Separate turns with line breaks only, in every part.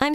I'm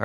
All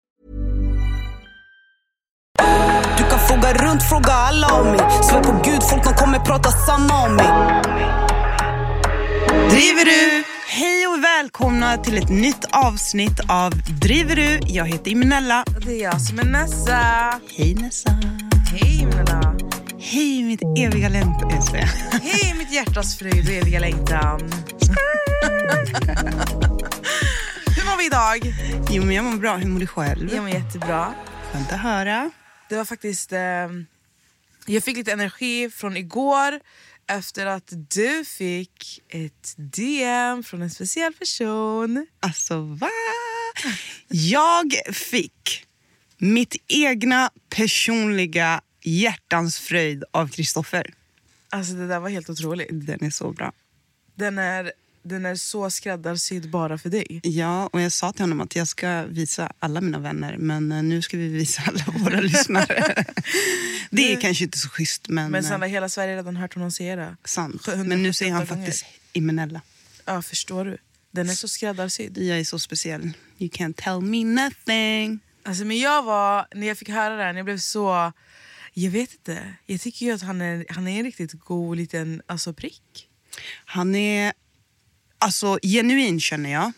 Du kan fråga runt, fråga alla om mig. Svär på gud, folk de kommer prata samma om mig.
Driver du? Hej och välkomna till ett nytt avsnitt av Driver du? Jag heter Imenella.
Det är jag som är Nessa.
Hej Nessa.
Hej Imenella.
Hej mitt eviga längtan. Jag ska-
Hej mitt hjärtas fröjd och eviga längtan. Hur mår vi idag?
Jo men jag mår bra. Hur mår du själv?
Jag mår jättebra.
Skönt att höra.
Det var faktiskt... Eh, jag fick lite energi från igår efter att du fick ett DM från en speciell person.
Alltså va? Jag fick mitt egna personliga hjärtans fröjd av Kristoffer.
Alltså det där var helt otroligt.
Den är så bra.
Den är, den är så skräddarsydd bara för dig.
Ja, och jag sa till honom att jag ska visa alla mina vänner, men eh, nu ska vi visa alla våra lyssnare. Det är kanske inte så schysst, men,
Men
eh,
Sanna, hela Sverige har redan hört honom säga det.
sant.
178
Men nu säger han
gånger.
faktiskt Imenella.
Ja, förstår du? Den är så skräddarsydd.
Jag är så speciell. You can't tell me nothing.
Alltså, men jag var, när jag fick höra det här, när jag blev så... Jag vet inte. Jag tycker ju att han är, han är en riktigt god liten alltså, prick.
Han är alltså genuin känner jag.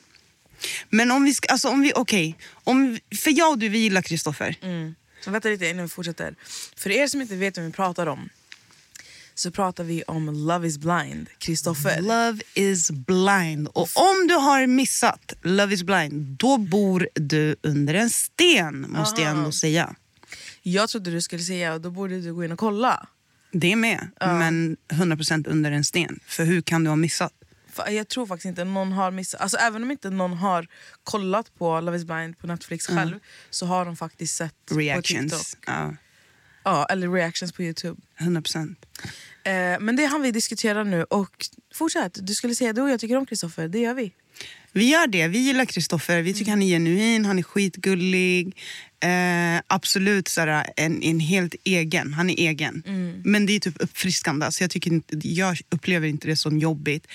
Men om vi ska, alltså om vi, okej. om vi- För jag och du, vi gillar Kristoffer.
Så vänta lite innan vi fortsätter. För er som inte vet vad vi pratar om så pratar vi om Love is blind, Kristoffer.
Love is blind. Och om du har missat Love is blind, då bor du under en sten måste jag
Ah.
ändå säga.
Jag trodde du skulle säga och då borde du gå in och kolla.
Det med,
Ah.
men 100% under en sten. För hur kan du ha missat?
För jag tror faktiskt inte någon har missat, alltså även om inte någon har kollat på Love is blind på Netflix själv så har de faktiskt sett på
Reactions.
TikTok.
Ja,
Ja, eller reactions på Youtube.
100%.
Eh, men det är han vi diskuterar nu. Och fortsätt, du skulle säga du och jag tycker om Kristoffer, det gör vi.
Vi gör det. Vi gillar Kristoffer. Vi tycker han är genuin, han är skitgullig. Eh, absolut såhär, en, en helt egen. Han är egen. Men det är typ uppfriskande. Så jag, tycker inte, jag upplever inte det som jobbigt.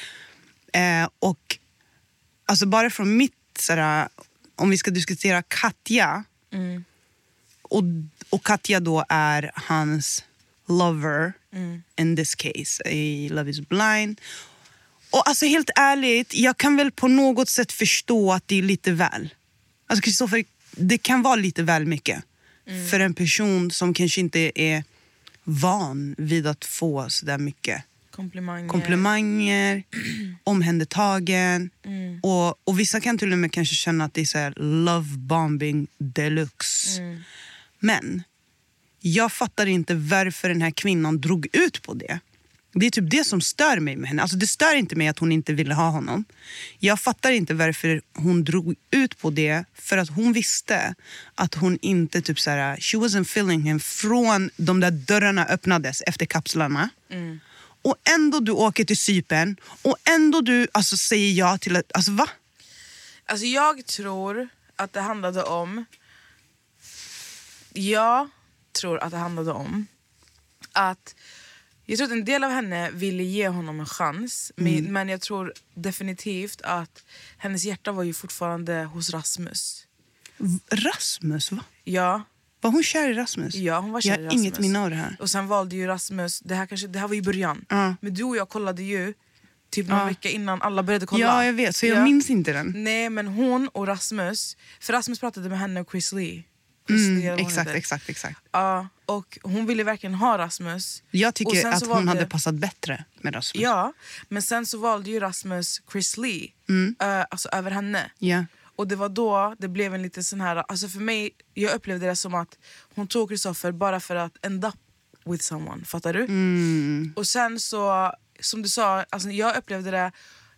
Eh, och alltså bara från mitt... Såhär, om vi ska diskutera Katja. Och, och Katja då är hans lover in this case, i Love is blind. Och alltså helt ärligt, jag kan väl på något sätt förstå att det är lite väl. Alltså Kristoffer, det kan vara lite väl mycket. För en person som kanske inte är van vid att få sådär mycket
Komplimanger.
komplimanger, omhändertagen. Och, och vissa kan till och med kanske känna att det är så här love bombing deluxe. Men jag fattar inte varför den här kvinnan drog ut på det. Det är typ det som stör mig med henne. Alltså det stör inte mig att hon inte ville ha honom. Jag fattar inte varför hon drog ut på det för att hon visste att hon inte typ så här, she wasn't feeling him från de där dörrarna öppnades efter kapslarna.
Mm.
Och ändå du åker till Cypern och ändå du alltså, säger ja till att... Alltså va?
Alltså jag tror att det handlade om... Jag tror att det handlade om att... Jag tror att en del av henne ville ge honom en chans. Men, men jag tror definitivt att hennes hjärta var ju fortfarande hos Rasmus.
V- Rasmus, va?
Ja,
Var hon kär i Rasmus?
ja hon var kär
Jag
i
har
Rasmus.
inget minne av det här.
Och sen valde ju Rasmus, det här, kanske, det här var ju början.
Ja.
Men du och jag kollade ju typ någon vecka innan alla började kolla.
Ja, jag vet. Så jag
Ja.
minns inte den.
Nej men hon och Rasmus, för Rasmus pratade med henne och Chris Lee. Chris Lee, eller vad
Mm,
hon
exakt,
heter.
exakt, exakt.
Ja, och hon ville verkligen ha Rasmus.
Jag
Och
tycker
sen
att
så
hon
valde-
hade passat bättre med Rasmus.
Ja, men sen så valde ju Rasmus Chris Lee eh, alltså över henne.
Mm. Ja.
Och det var då det blev en liten sån här, alltså för mig, jag upplevde det som att hon tog Kristoffer bara för att end up with someone, fattar du?
Mm.
Och sen så, som du sa, alltså jag upplevde det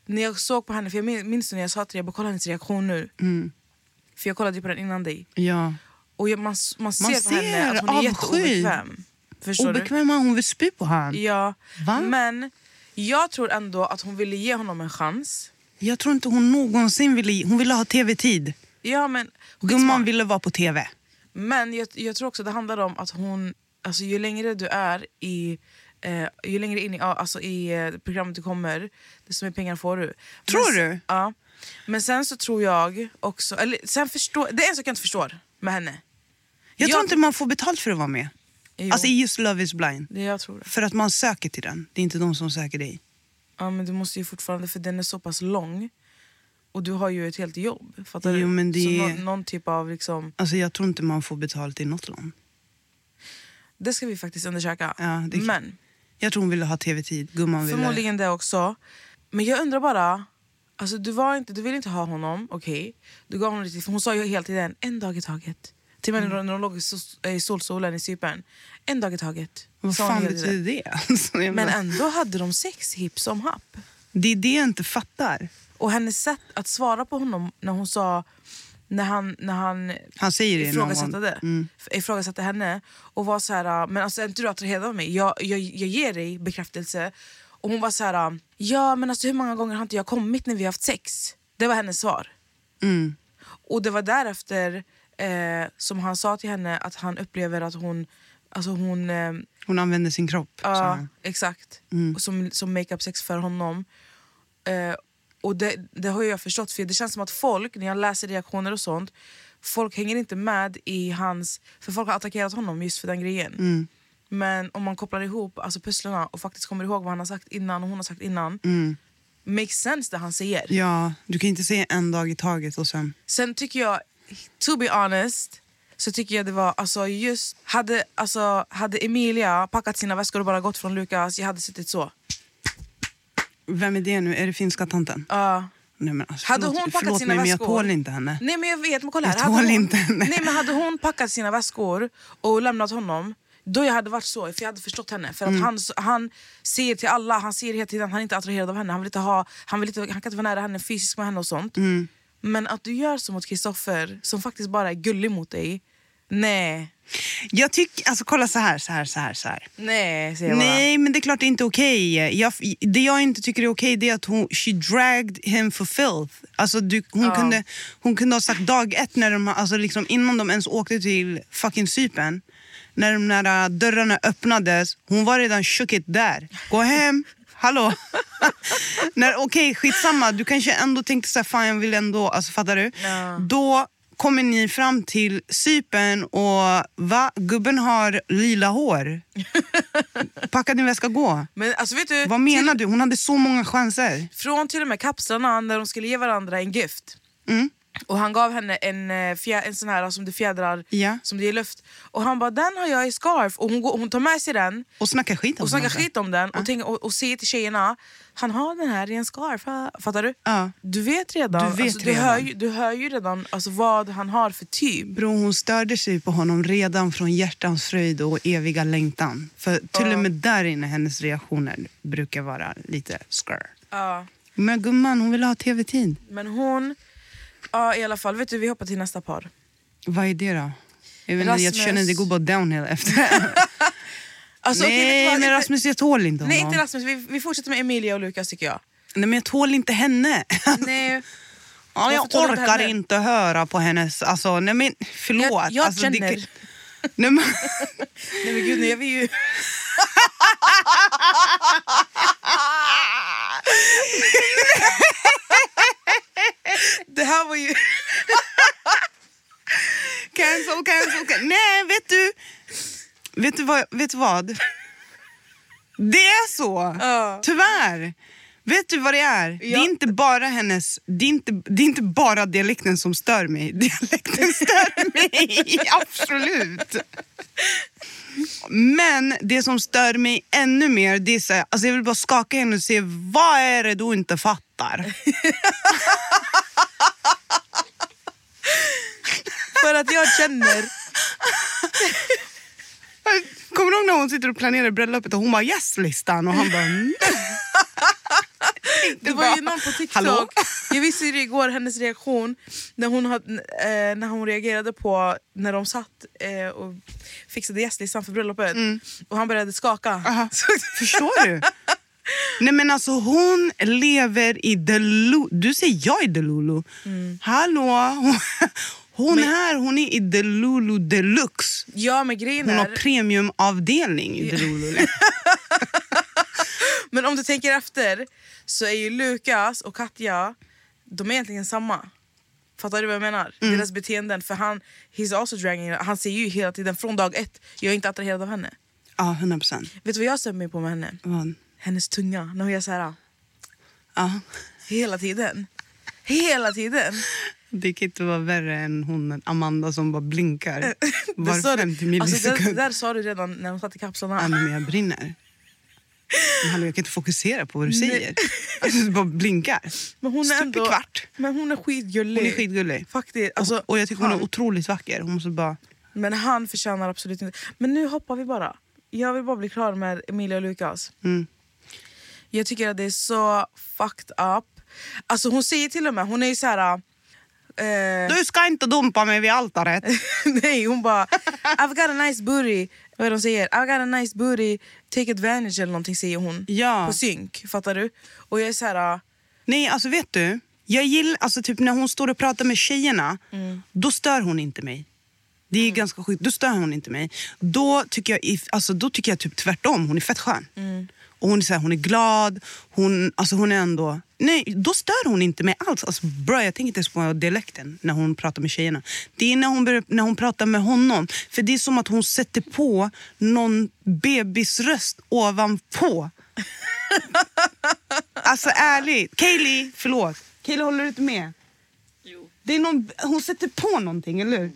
när jag såg på henne, för jag min- minns när jag sa till dig, jag bara kolla hennes reaktion nu.
Mm.
För jag kollade ju på den innan dig.
ja.
Och jag, man, s- man, ser på
ser
henne att hon är
avsky.
jätteobekväm. Förstår du?
Obekväma, hon vill spy på han.
Ja,
Va?
men jag tror ändå att hon ville ge honom en chans.
Jag tror inte hon någonsin ville... Hon ville ha tv-tid.
Ja, men, skitsmart.
Gumman ville vara på tv.
men jag, jag tror också det handlar om att hon, alltså ju längre du är i Eh, ju längre in i, ja, alltså i eh, programmet du kommer, desto mer pengar får du.
Tror
men,
du?
Ja. Men sen så tror jag också... Eller, sen förstår, det är en sak jag inte förstår med henne.
Jag,
Jag-
tror inte man får betalt för att vara med.
Jo,
Alltså i just Love is blind.
det jag tror det.
För att man söker till den. Det är inte de som söker dig.
Ja, men du måste ju fortfarande, för den är så pass lång och du har ju ett helt jobb. Fattar du?
Jo, men det-
Så nå- någon typ av liksom...
Alltså jag tror inte man får betalt i något land.
Det ska vi faktiskt undersöka.
Ja, det-
men
Jag tror hon ville ha tv-tid. Gumman ville...
förmodligen det också. Men jag undrar bara, alltså du, var inte, du ville inte ha honom, okej. Du gav honom lite, för hon sa ju hela tiden en dag i taget. Till
Mm.
och med när de låg i sol- i solsolen i Cypern. En dag i taget.
Vad
sa hon
fan
hela tiden.
betyder det? Alltså, jag
Men
bara-
ändå hade de sex hipp som happ.
Det är det jag inte fattar.
Och hennes sätt att svara på honom när hon sa, när han, när han
Han säger det
ifrågasatte,
någon Mm.
det, ifrågasatte henne och var så här, men alltså är inte du attraherad av mig? Jag, jag, jag ger dig bekräftelse. Och hon var så här, "Ah, ja men alltså hur många gånger har inte jag kommit när vi har haft sex? Det var hennes svar.
Mm.
Och det var därefter eh, som han sa till henne att han upplever att hon, alltså hon eh,
Hon använder sin kropp. sa
Ja,
han.
exakt. Och som, som makeup sex för honom. Eh, och det, det har jag förstått, för det känns som att folk, när jag läser reaktioner och sånt, folk hänger inte med i hans... För folk har attackerat honom just för den grejen. Men om man kopplar ihop alltså pusslarna och faktiskt kommer ihåg vad han har sagt innan och hon har sagt innan, makes sense det han säger.
ja, du kan inte säga en dag i taget och sen...
Sen tycker jag, to be honest, så tycker jag det var alltså just... Hade, alltså, hade Emilia packat sina väskor och bara gått från Lukas, jag hade suttit så.
Vem är det nu? Är det finska tanten?
Ja.
Nej, men alltså,
Hade
förlåt,
hon packat
förlåt
sina
mig, men jag
väskor...
tål inte henne.
Nej men jag vet, men kolla här.
Jag
Hade
tål
hon,
inte henne.
Nej men hade hon packat sina väskor och lämnat honom, då jag hade varit så, för jag hade förstått henne. För att
Mm.
han, han ser till alla, han ser hela tiden att han är inte är attraherad av henne. Han, vill inte ha, han, vill inte, han kan inte vara nära henne fysiskt med henne och sånt.
Mm.
Men att du gör så mot Kristoffer, som faktiskt bara är gullig mot dig. Nej,
Jag tycker... Alltså kolla så här, så här, så här, så här.
nej säger jag
Nej, men det är klart det är inte okej. Jag, det jag inte tycker är okej det är att hon she dragged him for filth. Alltså, du, hon, kunde, hon kunde ha sagt dag ett, när de, alltså, liksom, innan de ens åkte till fucking Cypern. När de där äh, dörrarna öppnades, hon var redan shook it där. Gå hem, hallå. när, okej, skitsamma, du kanske ändå tänkte så här, fan jag vill ändå, alltså fattar du? Då kommer ni fram till Cypern och va? Gubben har lila hår. Packa din väska, gå.
bara. Men alltså vet du,
Vad menar du? Hon hade så många chanser.
från till och med kapslarna när de skulle ge varandra en gift.
Mm.
Och han gav henne en, eh, fjä- en sån här som det fjädrar,
Ja.
som det är luft. Och han bara, den har jag i scarf. Och hon, går, hon tar med sig den
Och snacka skit om
och snackar
varandra.
skit om den och, tänker, och, och säger till tjejerna, han har den här i en scarf. ha." Fattar du?
Ja.
Du vet redan.
Du vet
alltså,
redan.
Du, hör ju, du hör ju redan alltså, vad han har för typ.
Bro, hon störde sig på honom redan från hjärtans fröjd och eviga längtan. För till och med där inne hennes reaktioner brukar vara lite skr.
Ja.
Men gumman, hon vill ha tv-tid.
Men hon, ja i alla fall, vet du vi hoppar till nästa par.
Vad är det då? Jag, vet inte, jag
Rasmus.
känner det går bara downhill efter.
Alltså, okej, vet
Nej,
du vad?
men
Inte-
Rasmus, jag tål inte honom.
Nej inte Rasmus, vi, vi fortsätter med Emilia och Lukas tycker jag.
Nej, men jag tål inte henne.
Nej,
Ja, jag
Varför tog du upp
orkar
henne?
inte höra på hennes... Alltså, nej men förlåt.
Jag- jag
alltså,
känner.
nej, men,
Nej men gud, nu är vi ju... det här var ju...
cancel, cancel, cancel. Nej, vet du... Vet du vad? Vet du vad? Det är så.
Ja.
Tyvärr. Vet du vad det är? Det är inte bara hennes... Det är inte, det är inte bara dialekten som stör mig. Dialekten stör mig, absolut. Men det som stör mig ännu mer, det är så här, alltså jag vill bara skaka henne och se vad är det du inte fattar?
För att jag känner...
Kommer du ihåg när hon sitter och planerar bröllopet och hon bara yes-listan och han bara mm.
Det var ju någon på TikTok,
Hallå?
jag visste ju det igår, hennes reaktion när hon, hade, eh, när hon reagerade på när de satt eh, och fixade gästlistan för bröllopet och han började skaka.
Mm. Aha. Förstår du? Nej men alltså hon lever i Delulu. Du säger jag är Delulu.
Mm.
Hallå? Hon, hon här, hon är i Delulu deluxe.
Ja men grejen
Hon har
är,
premiumavdelning i Delulu.
men om du tänker efter så är ju Lukas och Katja, de är egentligen samma. Fattar du vad jag menar?
Mm.
Deras beteenden, för han, he's also dragging, han ser ju hela tiden från dag ett, jag är inte attraherad av henne.
Ja, 100 procent.
Vet du vad jag stämmer mig på med henne? Hennes tunga, när hon gör såhär
Ja.
ah, hela tiden. Hela tiden.
Det kan inte vara värre än hon Amanda som bara blinkar
Det sa du- alltså,
var 50
det, det
millisekund.
där sa du redan när de satt i kapslarna.
Ja, men jag brinner. Men hallå, jag kan inte fokusera på vad du säger. Alltså, du bara blinkar.
Men hon är
Stup i
ändå...
kvart.
Men hon är skitgullig.
Hon är skitgullig.
Faktiskt. Alltså,
och jag tycker hon
han-
är otroligt vacker. Hon måste bara...
Men han förtjänar absolut inte... Men nu hoppar vi bara. Jag vill bara bli klar med Emilia och Lukas.
Mm.
Jag tycker att det är så fucked up. Alltså hon säger till och med, hon är ju såhär... Eh,
Du ska inte dumpa mig vid altaret.
nej, hon bara I've got a nice booty. Vad är det hon säger? I've got a nice booty, take advantage eller någonting säger hon.
Ja.
På synk, fattar du? Och jag är "Ah, såhär...
Nej, alltså vet du? Jag gillar, alltså typ när hon står och pratar med tjejerna, då stör hon inte mig. Det är ganska sjukt, då stör hon inte mig. Då tycker jag, if- alltså, då tycker jag typ tvärtom, hon är fett skön. Och hon, är så här, hon är glad, hon, alltså, hon är ändå... Nej, då stör hon inte mig alls. Alltså, bra, jag tänker inte ens på dialekten när hon pratar med tjejerna. Det är när hon, börjar, när hon pratar med honom. För det är som att hon sätter på någon bebisröst ovanpå. Alltså ärligt. Kaylee, förlåt. Kaylee, håller du inte med? Jo. Det är någon, hon sätter på någonting, eller hur?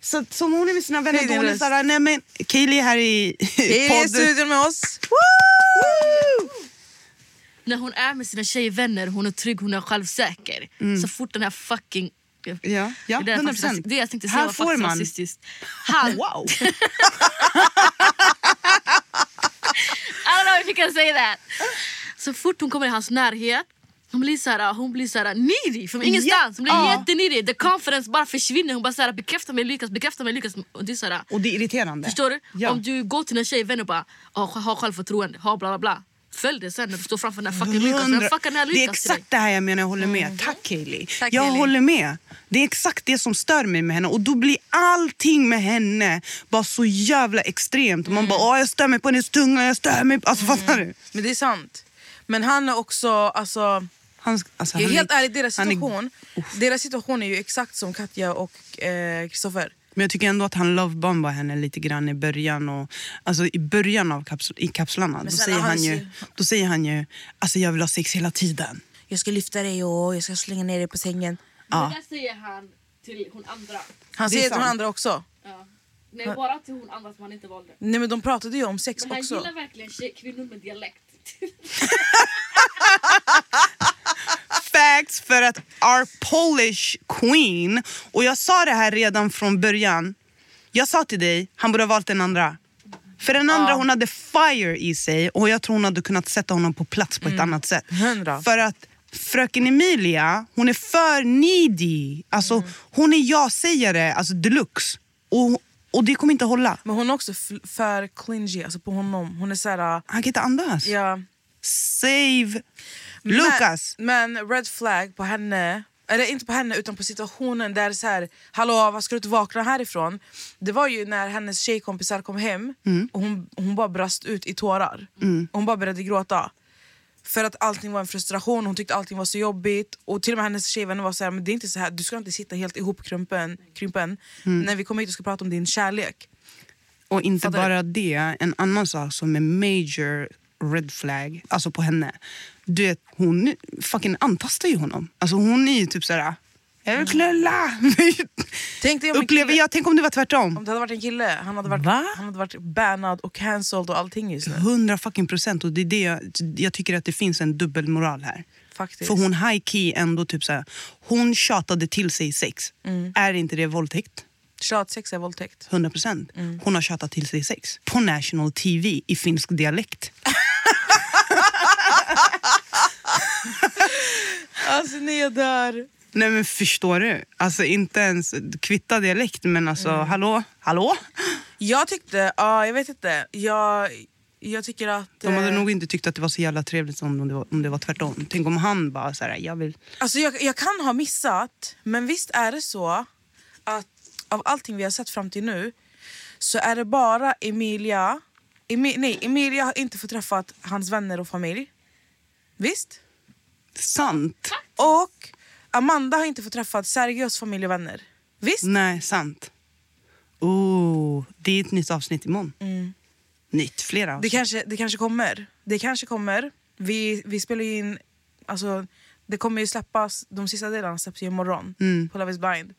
Så som hon är med sina vänner,
Säg
då
din
hon är
röst.
såhär, nej men Kaylee är här i i
Är det i
podden.
studion med oss?
Woo!
När hon är med sina tjejvänner, hon är trygg, hon är självsäker.
Mm.
Så fort den här fucking...
Ja, ja,
det, där är
100%.
faktiskt, rasist- det jag tänkte säga
Här
var
får
faktiskt
man.
rasistiskt. Han,
Wow!
I don't know if you can say that. Så fort hon kommer i hans närhet, hon blir så här, ah, hon blir så här needy från ingenstans. Hon blir
Ja.
jätteneedy. The confidence bara försvinner. Hon bara så här, bekräfta mig Lukas, bekräfta mig Lukas. Och det är så här,
Och det är irriterande.
förstår du?
Ja.
Om du går till en tjejvän och bara "Ja, ha självförtroende, ha bla bla bla. Följ det sen när du står framför den här fucking Lukas. Vem
Hundra-
fuckar den här
det är
Lukas till dig?
exakt det här jag menar, jag håller med. Tack Hailey.
Mm. Tack,
jag
Hailey.
håller med. Det är exakt det som stör mig med henne och då blir allting med henne bara så jävla extremt.
Mm.
Man bara, åh jag stör mig på hennes tunga, jag stör mig på... Alltså fattar du?
Men det är sant. Men han är också... Alltså,
Han, alltså,
jag är
han
helt ärlig, deras
han är-
situation, deras situation är ju exakt som Katja och eh, Kristoffer.
Men jag tycker ändå att han lovebombar henne lite grann i början. Och, alltså i början av kapsl, i kapslarna. Då
sen
säger,
han
han
är
ju,
så-
då säger han ju, alltså jag vill ha sex hela tiden.
jag ska lyfta dig och jag ska slänga ner dig på sängen.
Ja. Det där säger han till hon andra.
Han
Det är
säger till de
sant.
andra också.
Ja. Nej, bara till hon andra som han inte valde.
Nej men de pratade ju om sex
Men han
också.
gillar verkligen tjej, kvinnor med dialekt.
Facts för att our Polish queen, och jag sa det här redan från början. Jag sa till dig, han borde ha valt den andra. För den andra hon hade fire i sig och jag tror hon hade kunnat sätta honom på plats på ett annat sätt.
Mm. Hundra.
För att fröken Emilia, hon är för needy. Alltså,
Mm.
Hon är ja-sägare alltså deluxe. Och, och det kommer inte hålla.
Men hon är också f- för clingy alltså på honom. Hon är såhär... äh,
Han kan inte andas.
Ja.
Save Lucas.
Men, men red flag på henne, Eller inte på henne utan på situationen där så här, hallå vad ska du inte vakna härifrån? Det var ju när hennes tjejkompisar kom hem och hon, hon bara brast ut i tårar. Hon bara började gråta. För att allting var en frustration, hon tyckte allting var så jobbigt. Och till och med hennes tjejvänner var så här, men det är inte så här, du ska inte sitta helt ihopkrympen krympen, när vi kommer hit och ska prata om din kärlek.
Och inte
Fattar du?
bara det, en annan sak som är major red flag, alltså på henne. Du vet, hon fucking antastar ju honom. Alltså hon är ju typ såhär, jag vill knulla!
Tänk dig om en
Upplever
kille-
jag, tänk om det var tvärtom.
Om det hade varit en kille, han hade varit,
Va?
han hade varit bannad och cancelled och allting just nu.
Hundra fucking procent. Och det är det jag, jag tycker att det finns en dubbelmoral här.
Faktiskt.
För hon high key ändå typ såhär, hon tjatade till sig sex.
Mm.
Är inte det våldtäkt?
Tjatsex är våldtäkt.
100 procent.
Mm.
Hon har tjatat till sig sex på national TV i finsk dialekt.
Alltså nej jag dör.
Nej men förstår du? Alltså inte ens kvitta dialekt men alltså
Mm.
hallå? Hallå?
Jag tyckte, ja jag vet inte. Jag, jag tycker att...
De hade
eh,
nog inte tyckt att det var så jävla trevligt som om det var, om det var tvärtom. Tänk om han bara så här, jag vill...
Alltså jag, jag kan ha missat, men visst är det så att av allting vi har sett fram till nu så är det bara Emilia... Emi, nej, Emilia har inte fått träffa hans vänner och familj. Visst?
Sant.
Och Amanda har inte fått träffa Sergios familj och vänner. Visst?
Nej, sant. Oh, det är ett nytt avsnitt imorgon. Nytt, flera
Mm. Det
avsnitt.
kanske, det kanske kommer. Det kanske kommer. Vi, vi spelar ju in... Alltså, det kommer ju släppas, de sista delarna släpps ju imorgon på Love is blind.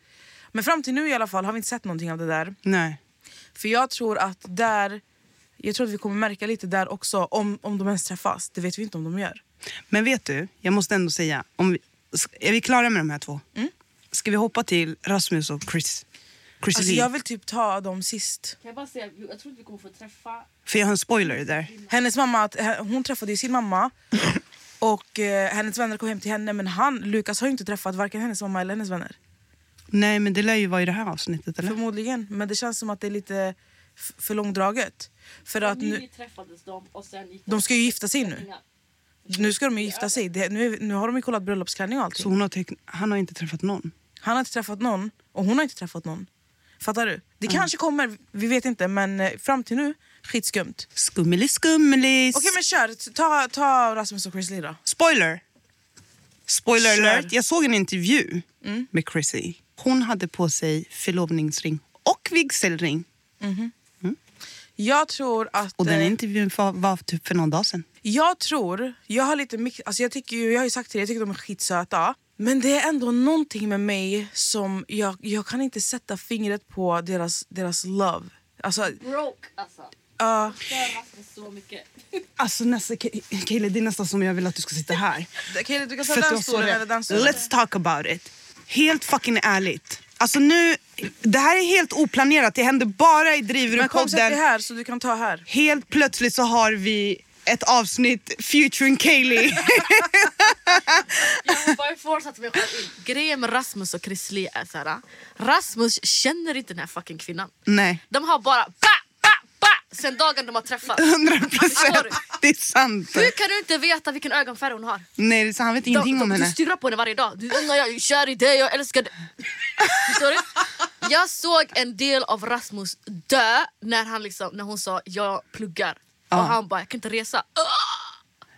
Men fram till nu i alla fall har vi inte sett någonting av det där.
Nej.
För jag tror att där... Jag tror att vi kommer märka lite där också, om, om de ens träffas. Det vet vi inte om de gör. Alltså,
Men vet du, jag måste ändå säga, om vi, s- är vi klara med de här två? Mm. Ska vi hoppa till Rasmus och Chris? Chris
Alltså,
Lee?
jag vill typ ta dem sist.
Kan jag bara säga, jag tror att vi kommer få träffa...
För jag har en spoiler där.
Hennes mamma, att- he- hon träffade ju sin mamma. Och eh, hennes vänner kom hem till henne men han, Lukas har ju inte träffat varken hennes mamma eller hennes vänner.
Nej, men det lär ju vara i det här avsnittet, eller?
Förmodligen. Men det känns som att det är lite f- för långdraget. För att nu,
träffades de och sen gick
de ska ju gifta sig nu. Nu ska de ju gifta sig. Det, nu, är- nu har de ju kollat bröllopsklänning och
Så
allting.
hon har teck- han har inte träffat någon.
Han har inte träffat någon och hon har inte träffat någon. Fattar du? Det kanske kommer, vi vet inte. Men eh, fram till nu, skitskumt.
Skummelis, skummelis.
Okej men kör, ta, ta Rasmus och Chrisley då.
Spoiler! Spoiler
Kör.
alert. Jag såg en intervju med Chrissy. Hon hade på sig förlovningsring och vigselring.
Jag tror att...
Och den
eh,
intervjun var, var typ för någon dag sedan.
Jag tror, jag har lite mix, alltså jag, tycker ju, jag har ju sagt till dig, jag tycker de är skitsöta. Men det är ändå någonting med mig som jag, jag kan inte sätta fingret på deras, deras love. Alltså,
Broke alltså.
ja,
Stör Rasmus så mycket.
Alltså nästa, Ke- Kaeli, det är nästan som jag vill att du ska sitta här.
Kaeli, du kan
För
ta
att
den
jag såg
stolen
det.
eller den stolen.
Let's talk about it. Helt fucking ärligt. Alltså nu, det här är helt oplanerat. Det händer bara i
Men kom sätt dig
Driverudpodden.
här så du kan ta här.
Helt plötsligt så har vi ett avsnitt featuring Kaeli.
Jag har bara fortsatt mig själv in. Grejen med Rasmus och Chris Lee är såhär, Rasmus känner inte den här fucking kvinnan.
Nej.
De har bara ba, ba, ba sen dagen de har träffats.
100 procent.
Sorry.
Det är sant.
Hur kan du inte veta vilken ögonfärg hon har?
Nej, det är sant. Han vet ingenting
de, de,
om
Du
henne.
stirrar på henne varje dag. Du undrar, jag är kär i dig, jag älskar dig. Förstår du? Jag såg en del av Rasmus dö när, han liksom, när hon sa jag pluggar. Och han bara, jag kan inte resa.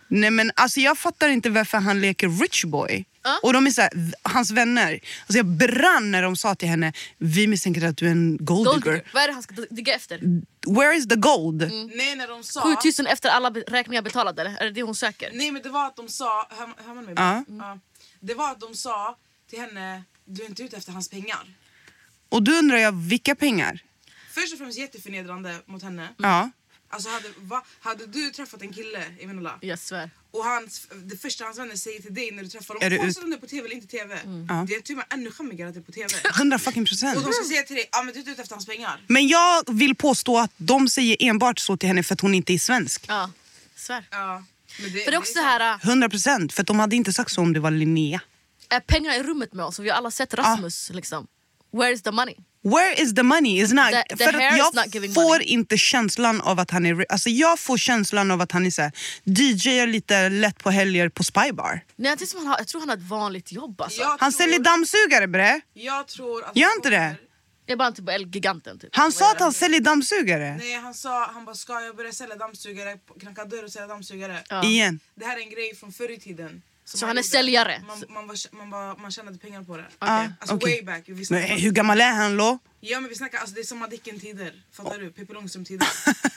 Nej, men alltså, jag fattar inte varför han leker rich boy. Och de är så här, v- hans vänner. Alltså, jag brann när de sa till henne, vi misstänker att du är en gold
Gold
digger.
digger. Vad är det han ska digga efter?
Where is the gold?
Nej när de sa...
7000 efter alla be- räkningar betalade eller? Är det det hon söker?
Nej men det var att de sa, hör, hör man mig? Mm.
Ja.
Ja. Det var att de sa till henne, du är inte ute efter hans pengar.
Och då undrar jag, vilka pengar?
Först och främst jätteförnedrande mot henne.
Ja.
Alltså hade, va, hade du träffat en kille, Emanuela,
Jag svär.
och hans, det första hans vänner säger till dig när du träffar dem,
Är det
oavsett om det är på tv eller inte tv.
Mm.
Det är till och med ännu skämmigare att det är på tv.
100 fucking procent.
och de ska säga till dig, ah, men du är inte ute efter hans pengar.
Men jag vill påstå att de säger enbart så till henne för att hon inte är svensk.
Ja, svär.
Ja, men
För det är också så här, äh-
100 procent. För att de hade inte sagt så om det var Linnea.
är pengarna i rummet med oss? Och vi har alla sett Rasmus liksom. Where is the money?
Where is the money? Is not,
The- the
för
hair
att
is
jag
not giving
får
money.
inte känslan av att han är... re- Alltså jag får känslan av att han är så här, DJar lite lätt på helger på spybar.
Nej, jag, tror som han har, jag tror han har ett vanligt jobb alltså.
Jag
Han
tror-
säljer dammsugare bre.
Jag tror att
Gör inte det?
Det är bara typ Elgiganten typ.
Han sa
Vad är
att
det?
han säljer dammsugare.
Nej han sa, han bara ska jag börja sälja dammsugare, knacka dörr och sälja dammsugare.
Igen.
Det här är en grej från förr i tiden. som
Så han är
gjorde.
säljare?
Man, man, var, man, var, man tjänade pengar på det.
Ah,
alltså
okej.
way back. Vi
Men
snackar,
hur gammal är han då?
Ja men vi snackar, alltså, det är som Madicken-tider. Fattar du? Pippi Långstrump-tider.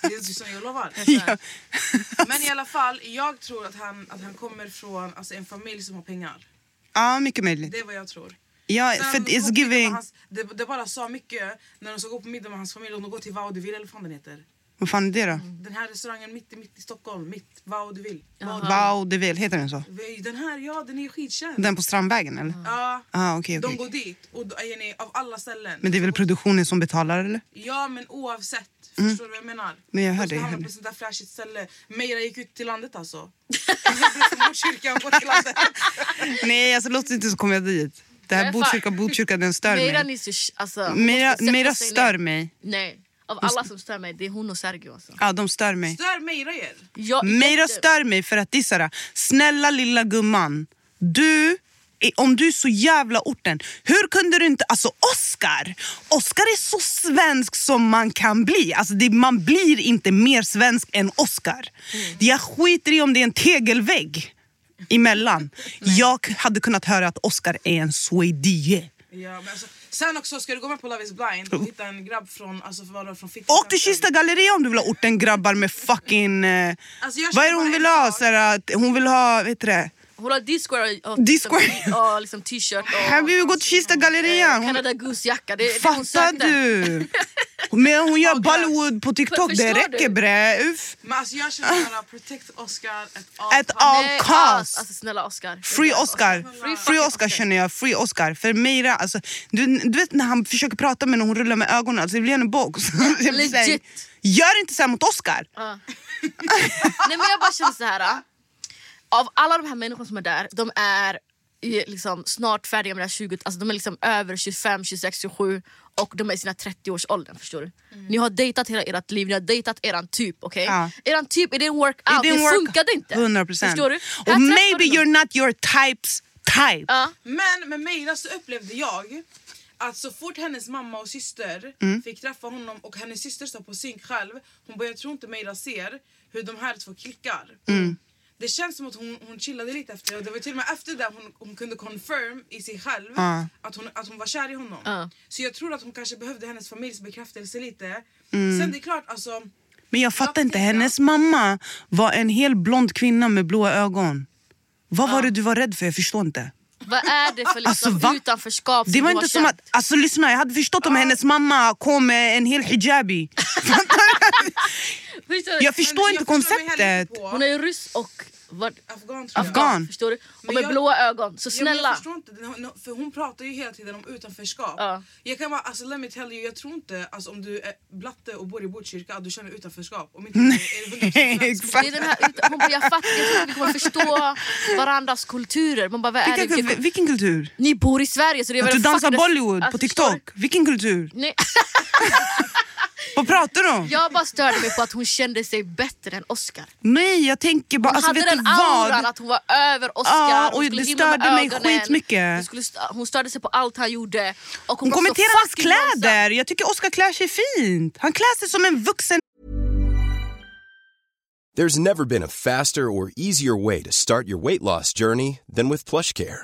det är så jag lovar.
Ja.
Men i alla fall, jag tror att han, att han kommer från alltså, en familj som har pengar.
Ja, mycket möjligt.
Det är vad jag tror.
Ja,
Sen
för
de går
it's
på middag med
giving...
Hans, det, det bara sa mycket när de ska gå på middag med hans familj. Om de går till Vaudeville eller vad fan den heter.
Vad fan är det då?
Mm.
Den här restaurangen mitt, i- mitt i Stockholm, mitt Vaudeville.
Wow, det vill. Heter den så?
Vaudeville. Den här, ja den är ju skitkänd.
Den på Strandvägen eller?
Ja,
Ah, okej,
de
okej.
går dit och då- Jenny, av alla ställen.
Men det är väl
Så går-
produktionen som betalar eller?
Ja men oavsett, förstår du vad jag menar?
Nej, jag hör
de
dig,
ska
jag
hamna
hör
på
dig.
sånt där flashigt ställe. Meira gick ut till landet alltså. Från Botkyrka och går till landet.
Nej, alltså låt inte så kommer jag dit. Det här
Nej,
Botkyrka,
fan.
Botkyrka, den stör
Meira
mig.
needs to sh- alltså, hon
Meira,
måste sätta
Meira
sig ner.
stör mig.
Nej, av alla som stör mig, det är hon och Sergio alltså.
Ja, de stör mig.
Stör Meira er?
Jag,
Meira
jätte-
stör mig för att det är så här, snälla lilla gumman, du, är- om du är så jävla orten, hur kunde du inte, alltså Oscar, Oscar är så svensk som man kan bli. Alltså det, man blir inte mer svensk än Oscar.
Mm.
Jag skiter i om det är en tegelvägg emellan. Jag hade kunnat höra att Oscar är en swedie.
Ja, men alltså, sen också, ska du gå med på Love is blind och hitta en grabb från, alltså, vad var det, från Fittja?
Åk till Kista galleria om du vill ha orten grabbar med fucking... Eh,
Alltså, jag
vad är det
känner
hon
bara
vill
en
ha?
sak.
Så här, att hon vill ha, vet du det?
Hon har D-square och
D-square.
och liksom t-shirt
Här
och
vill vi gå till Kista galleria. Hon-
Canada Goose-jacka. Eh, Det, är det hon
Fattar
sökte.
du? Men hon gör
Åh,
Bollywood på TikTok, det
Förstår
räcker
du?
bre. Uff.
Men alltså, jag känner bara, protect Oscar at all
At
times.
all
Nej,
cost.
Alltså snälla Oscar.
Free Oscar.
Free
Free
fucking
Oscar känner jag. Free Oscar. För Meira, alltså, du, du vet när han försöker prata med henne och hon rullar med ögonen, alltså, det blir en box. Jag blir så här,
legit.
Gör inte så här mot Oscar.
Nej men jag bara känner så här. ah. Av alla de här människorna som är där, de är i liksom snart färdiga med det här 20, alltså de är liksom över 25, 26, 27 och de är i sina 30-årsåldern. Förstår du? Ni har dejtat hela ert liv, ni har dejtat eran typ. okej?
Mm. Ja.
Eran typ, it didn't work out,
didn't
det
work.
funkade inte.
100
Förstår du? Här
Och
träffar
maybe
du någon.
you're not your types type.
Ja.
Men med Meira så upplevde jag att så fort hennes mamma och syster fick träffa honom och hennes syster sa på synk själv, hon bara jag tror inte Meira ser hur de här två klickar. Det känns som att hon, hon chillade lite efter det och det var till och med efter det hon, hon kunde confirm i sig själv
Ja.
att, hon, att hon var kär i honom.
Ja.
Så jag tror att hon kanske behövde hennes familjs bekräftelse lite. Sen det är klart alltså,
Men jag fattar
Jag
inte,
vet inte.
hennes mamma var en hel blond kvinna med blåa ögon. Vad var det du var rädd för? Jag förstår inte.
Vad är det för
Alltså,
liksom
va?
utanförskap
Det var
du har
inte som
känt?
att, alltså lyssna jag hade förstått om hennes mamma kom med en hel hijabi.
Förstår du?
Jag förstår
jag
inte
förstår mig heller
konceptet.
inte på-
Hon är ju ryss och vad,
afghan tror jag.
Afghan.
förstår du? Och
Men
med
jag-
blåa ögon. Så
Ja, men Jag
snälla.
förstår inte, den- hon- för hon pratar ju hela tiden om utanförskap.
Ja.
Jag kan bara, alltså let me tell you, jag tror inte alltså, om du är blatte och bor i Botkyrka att du känner utanförskap. Om inte är det 100%
Exakt.
Det är den här, ut- hon bara, jag fattar jag tror att vi kommer förstå varandras kulturer. Man bara, vad är det?
Vilken, vilken kultur?
Ni bor i Sverige så det är
Att
väl
du
en
dansar
fucking-
Bollywood på
Alltså, förstår
TikTok? Vilken kultur?
du? Nej,
Vad pratar du om?
jag bara störde mig på att hon kände sig bättre än Oscar.
Nej jag tänker bara, alltså,
hade
vet du
den auran
vad?
att hon var över Oscar.
Ja,
hon
och
skulle
det
himla med
störde mig
ögonen.
skitmycket.
Hon, skulle st- hon störde sig på allt han gjorde. Och
Hon
hon var så
kommenterar hans
fucking långsam.
kläder, jag tycker Oscar klär sig fint. Han klär sig som en vuxen.
There's never been a faster or easier way to start your weight loss journey than with PlushCare.